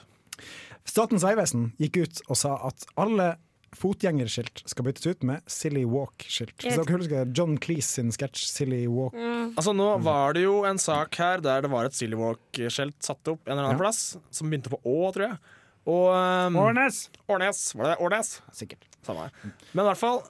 [SPEAKER 3] Statens vegvesen gikk ut og sa at alle fotgjengerskilt skal byttes ut med Silly Walk-skilt. Hvis
[SPEAKER 2] Jeg- Mm.
[SPEAKER 3] dere husker John Cleese sin sketsj Silly Walk
[SPEAKER 4] Altså Nå
[SPEAKER 3] Mm.
[SPEAKER 4] var det jo en sak her der det var et Silly Walk-skjelt satt opp en eller annen
[SPEAKER 3] Ja.
[SPEAKER 4] plass, som begynte på Å, tror jeg. Og um,
[SPEAKER 3] Årnes!
[SPEAKER 4] Årnes. Var det Årnes?
[SPEAKER 3] Sikkert.
[SPEAKER 4] Samme det. Men i hvert fall,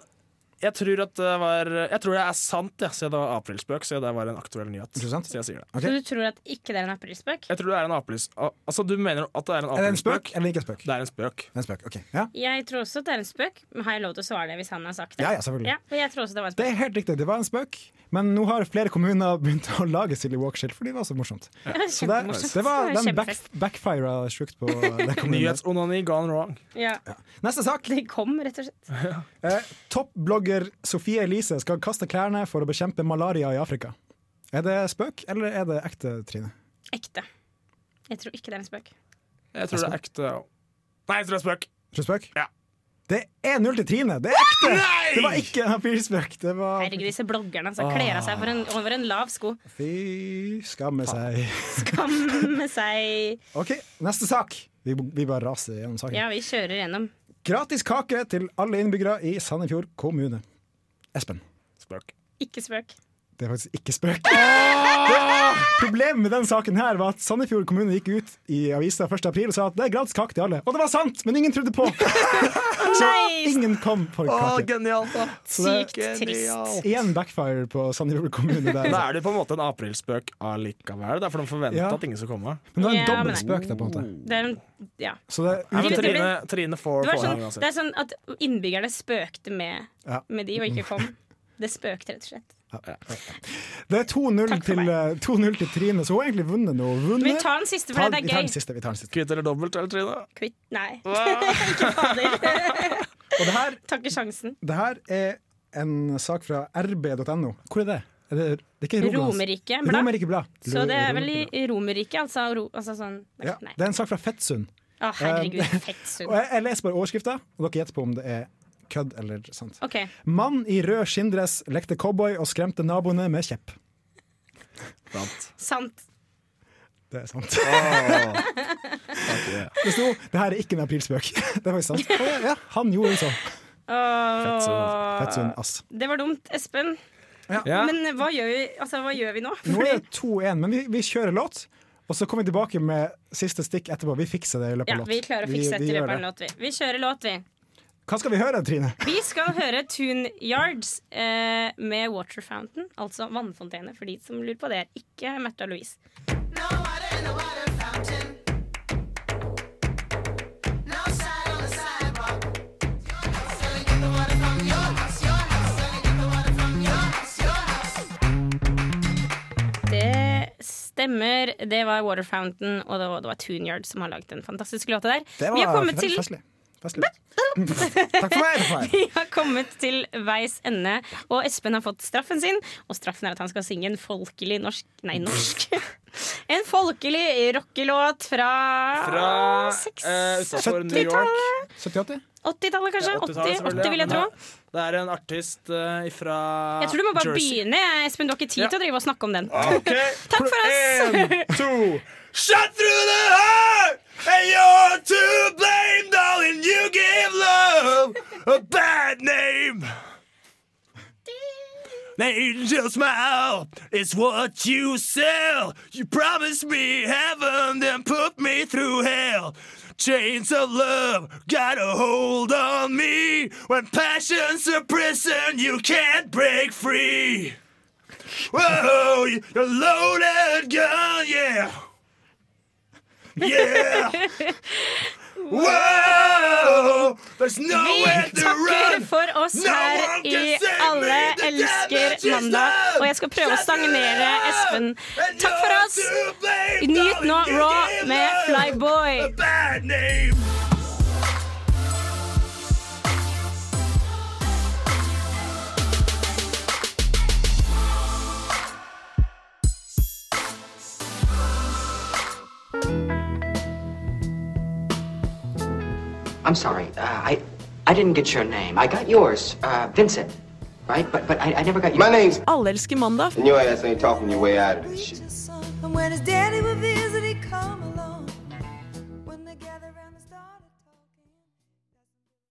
[SPEAKER 4] jeg tror at det var Jeg tror det er sant, ja, siden det var aprilspøk, siden det var en aktuell nyhet.
[SPEAKER 3] Ikke sant?
[SPEAKER 4] Så jeg sier det.
[SPEAKER 3] Ok.
[SPEAKER 2] Så du tror at ikke det er en aprilspøk?
[SPEAKER 4] Jeg tror det er en apris... al- Altså, du mener at det er en
[SPEAKER 3] Er det en spøk
[SPEAKER 4] aprilspøk?
[SPEAKER 3] eller ikke en spøk?
[SPEAKER 4] Det er en spøk.
[SPEAKER 3] En spøk, ok. Ja,
[SPEAKER 2] Jeg tror også at det er en spøk. Men har jeg lov til å svare det hvis han har sagt det?
[SPEAKER 3] ja, ja selvfølgelig.
[SPEAKER 2] Ja, og jeg tror også det var en
[SPEAKER 3] Det
[SPEAKER 2] spøk.
[SPEAKER 3] er helt riktig, det var en spøk. Men nå har flere kommuner begynt å lage Silly Walk-skilt, for de var så morsomt. Så det,
[SPEAKER 2] Kjempemorsomt.
[SPEAKER 3] det var den back,
[SPEAKER 2] Kjempefest.
[SPEAKER 3] backfira sjukt
[SPEAKER 2] *laughs*
[SPEAKER 3] på den kommunen.
[SPEAKER 4] Nyhetsonani gone wrong.
[SPEAKER 2] Ja.
[SPEAKER 3] Neste sak.
[SPEAKER 2] Det kom, rett og slett.
[SPEAKER 3] Eh, Toppblogger Sofie Elise skal kaste klærne for å bekjempe malaria i Afrika. Er det spøk, eller er det ekte, Trine?
[SPEAKER 2] Ekte. Jeg tror ikke det er en spøk.
[SPEAKER 4] Jeg tror det er ekte ja. Nei, jeg tror det er spøk.
[SPEAKER 3] Tror du spøk?
[SPEAKER 4] Ja.
[SPEAKER 3] Det er 1-0 til Trine! Det er ekte! Det var ikke en aprilspøk. Det var
[SPEAKER 2] Herregud, disse bloggerne altså, kler av seg for en, over en lav sko.
[SPEAKER 3] Fy skamme seg.
[SPEAKER 2] Skamme seg.
[SPEAKER 3] OK, neste sak. Vi, vi bare raser gjennom saken.
[SPEAKER 2] Ja, vi kjører gjennom.
[SPEAKER 3] Gratis kake til alle innbyggere i Sandefjord kommune. Espen,
[SPEAKER 4] Spøk.
[SPEAKER 2] Ikke spøk.
[SPEAKER 3] det er faktisk ikke spøk. Problemet med den saken her var at Sandefjord kommune gikk ut i avisa 1. april og sa at det er gratis kake til alle. Og det var sant, men ingen trodde på!
[SPEAKER 2] *laughs*
[SPEAKER 3] Så
[SPEAKER 2] Nei!
[SPEAKER 3] ingen kom for kake.
[SPEAKER 4] genialt, da.
[SPEAKER 2] Sykt trist.
[SPEAKER 3] Igjen backfire på Sandefjord kommune der.
[SPEAKER 4] Da er det på en måte en aprilspøk allikevel. Det er for de forventa
[SPEAKER 3] Ja.
[SPEAKER 4] at ingen skal komme.
[SPEAKER 3] Men det var
[SPEAKER 2] Ja,
[SPEAKER 3] en
[SPEAKER 2] men-
[SPEAKER 3] dobbelt spøk der, på en måte.
[SPEAKER 2] Det er, en- ja.
[SPEAKER 3] Så det,
[SPEAKER 4] Nei, men
[SPEAKER 2] Det blir-
[SPEAKER 4] Trine, Trine får
[SPEAKER 2] det, var
[SPEAKER 4] poeng
[SPEAKER 2] sånn, det
[SPEAKER 4] uansett.
[SPEAKER 2] er sånn at innbyggerne spøkte med,
[SPEAKER 3] Ja.
[SPEAKER 2] med de og ikke kom. Det spøkte, rett og
[SPEAKER 3] *laughs*
[SPEAKER 2] slett.
[SPEAKER 3] det er 2-0
[SPEAKER 2] Takk for
[SPEAKER 3] til, eh, 2-0 til Trine, så hun har egentlig vunnet nå.
[SPEAKER 2] Vi
[SPEAKER 3] Vunnet.
[SPEAKER 2] tar den siste,
[SPEAKER 3] Ta-
[SPEAKER 2] for det
[SPEAKER 3] vi
[SPEAKER 2] er
[SPEAKER 3] tar den
[SPEAKER 2] gøy.
[SPEAKER 3] siste. Vi tar den siste.
[SPEAKER 4] Kvitt eller dobbelt, eller Trine?
[SPEAKER 2] Kvitt.
[SPEAKER 3] *laughs*
[SPEAKER 2] Nei,
[SPEAKER 4] Wow.
[SPEAKER 2] ikke fader.
[SPEAKER 3] Og det her
[SPEAKER 2] *laughs* Takker sjansen.
[SPEAKER 3] Det her er en sak fra rb.no. Hvor er det? Er det, det er ikke Rogalands.
[SPEAKER 2] Romerike blad.
[SPEAKER 3] altså. Romerike Blad.
[SPEAKER 2] Så det er vel i
[SPEAKER 3] Romerike Blad.
[SPEAKER 2] i Romerike, altså, ro, altså sånn
[SPEAKER 3] ja,
[SPEAKER 2] Nei.
[SPEAKER 3] Det er en sak fra Fettsund.
[SPEAKER 2] Å, herregud, fett
[SPEAKER 3] *laughs* Og jeg, jeg leser bare overskrifta, og dere gjetter på om det er kødd eller sant.
[SPEAKER 2] OK.
[SPEAKER 3] Mann i rød skinndress lekte cowboy og skremte naboene med kjepp.
[SPEAKER 2] Sant.
[SPEAKER 3] Det er sant. *laughs* Det sto 'det her er ikke en aprilspøk'. *laughs* Det er faktisk sant. Og ja, ja, han gjorde det sånn. Fettsund, ass.
[SPEAKER 2] Det var dumt, Espen.
[SPEAKER 4] Ja.
[SPEAKER 2] Men hva gjør vi, altså, hva gjør vi nå?
[SPEAKER 3] Nå
[SPEAKER 2] Fordi-
[SPEAKER 3] er det 2-1, men vi, vi kjører låt. Og så kommer vi tilbake med siste stikk etterpå. Vi fikser det i
[SPEAKER 2] *laughs*
[SPEAKER 3] løpet
[SPEAKER 2] ja,
[SPEAKER 3] av låt.
[SPEAKER 2] vi klarer å fikse
[SPEAKER 3] vi
[SPEAKER 2] dette i
[SPEAKER 3] gjør
[SPEAKER 2] løpet av en
[SPEAKER 3] det.
[SPEAKER 2] låt, vi. Vi kjører låt, vi.
[SPEAKER 3] Hva skal vi høre, Trine?
[SPEAKER 2] Vi skal høre Tune Yards eh, med Water Fountain, altså vannfontene, for de som lurer på det. Ikke Märtha Louise. Det stemmer. Det var Water Fountain, og det var, det var Tune Yard som har laget den fantastiske låta der.
[SPEAKER 3] Det
[SPEAKER 2] Vi har
[SPEAKER 3] var
[SPEAKER 2] kommet til
[SPEAKER 3] festlig. festlig. Takk for meg! Takk for meg.
[SPEAKER 2] Vi har kommet til veis ende, og Espen har fått straffen sin. Og straffen er at han skal synge en folkelig norsk Nei, norsk. *laughs* En folkelig rockelåt fra,
[SPEAKER 4] Fra eh,
[SPEAKER 2] seks-
[SPEAKER 4] utafor New York.
[SPEAKER 2] *laughs*
[SPEAKER 3] 78?
[SPEAKER 2] 80-tallet, kanskje? 80, 80 vil jeg tro.
[SPEAKER 4] Det er en artist eh, fra
[SPEAKER 2] Jeg tror du må bare begynne, Espen. Du har ikke tid
[SPEAKER 4] Ja.
[SPEAKER 2] til å drive og snakke om den.
[SPEAKER 4] *laughs* Ok.
[SPEAKER 2] Takk for *laughs* oss!
[SPEAKER 4] En, to Shot through the heart And you're to blame, darling You gave love a bad name The angel smile is what you sell You promised me heaven Then put me through hell Chains of love got a hold on me When passion's a prison you can't break free Whoa, you're loaded gun, yeah. Yeah.
[SPEAKER 2] *laughs*
[SPEAKER 4] Whoa, there's
[SPEAKER 2] Vi
[SPEAKER 4] nowhere to
[SPEAKER 2] takker
[SPEAKER 4] run.
[SPEAKER 2] for oss
[SPEAKER 4] No
[SPEAKER 2] her
[SPEAKER 4] one
[SPEAKER 2] i
[SPEAKER 4] can save
[SPEAKER 2] Alle
[SPEAKER 4] me, the damage
[SPEAKER 2] elsker
[SPEAKER 4] is
[SPEAKER 2] mandag.
[SPEAKER 4] done.
[SPEAKER 2] Og jeg skal prøve å stagnere Espen. Takk for oss! Nyt nå Raw med Flyboy.
[SPEAKER 4] Bad name.
[SPEAKER 11] I'm sorry. Uh, I I didn't get your name. I got yours, uh, Vincent. Right? But but I, I never got your
[SPEAKER 12] My name's-
[SPEAKER 11] Alle elsker mandag.
[SPEAKER 12] And your ass ain't talking your way out of this shit.
[SPEAKER 13] And when his daddy would be